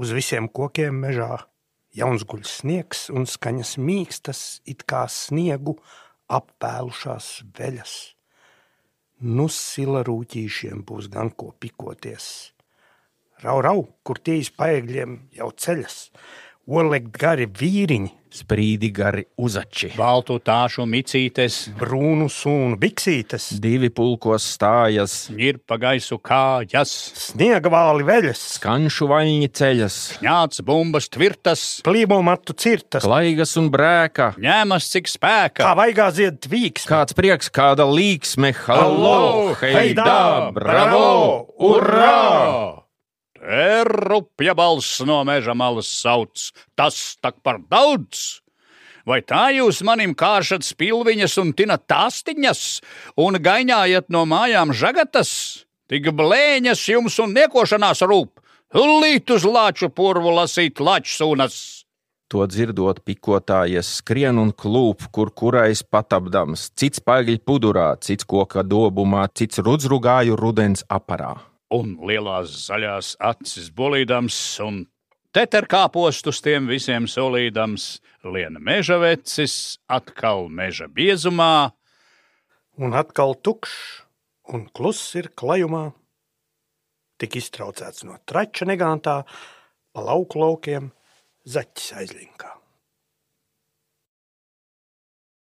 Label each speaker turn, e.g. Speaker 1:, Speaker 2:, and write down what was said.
Speaker 1: Uz visiem kokiem mežā jauns guļ sniegs un skaņas mīkstas, it kā sniegu apēlušās veļas. Nu, sila rūtīšiem būs gan ko pikoties. Rau, rau, kur tie izpaigļiem jau ceļas, olekt gari vīriņi,
Speaker 2: Sprīdi gari uzači.
Speaker 3: Baltu tāšu micītes,
Speaker 1: brūnu sūnu biksītes,
Speaker 2: Divi pulkos stājas,
Speaker 3: ir pa gaisu kājas,
Speaker 1: sniegvāli veļas,
Speaker 2: kanšu vaļņi ceļas,
Speaker 3: ņāc bumbas tvirtas,
Speaker 1: plīvo matu cirtas,
Speaker 2: klaigas un brēka.
Speaker 3: ņēmas cik spēka.
Speaker 1: kā vaigā zied tvīks.
Speaker 2: Kāds prieks, kāda līksme, hallo,
Speaker 1: Hallo,
Speaker 2: heidā,
Speaker 1: heidā,
Speaker 2: bravo,
Speaker 1: bravo,
Speaker 2: urā!
Speaker 3: Te rupja balss no meža malas sauc, tas tak par daudz! Vai tā jūs manim kāršat spilviņas un tinat tāstiņas, un gaņājat no mājām žagatas? Tik blēņas jums un niekošanās rūp, tūlīt uz lāču purvu lasīt lāčsūnas!
Speaker 2: To dzirdot, pikotājies skrien un klūp, kur kurais patapdams, cits paigļi pudurā, cits koka dobumā, cits rudzrugāju rudens aparā.
Speaker 3: un lielās zaļās acis bolīdams, un teterkāpost uz tiem visiem solīdams, lien meža vecis, atkal meža biezumā,
Speaker 1: un atkal tukšs un kluss ir klajumā. Tik iztraucēts no trača negantā, pa lauku laukiem zaķis aizlinkā.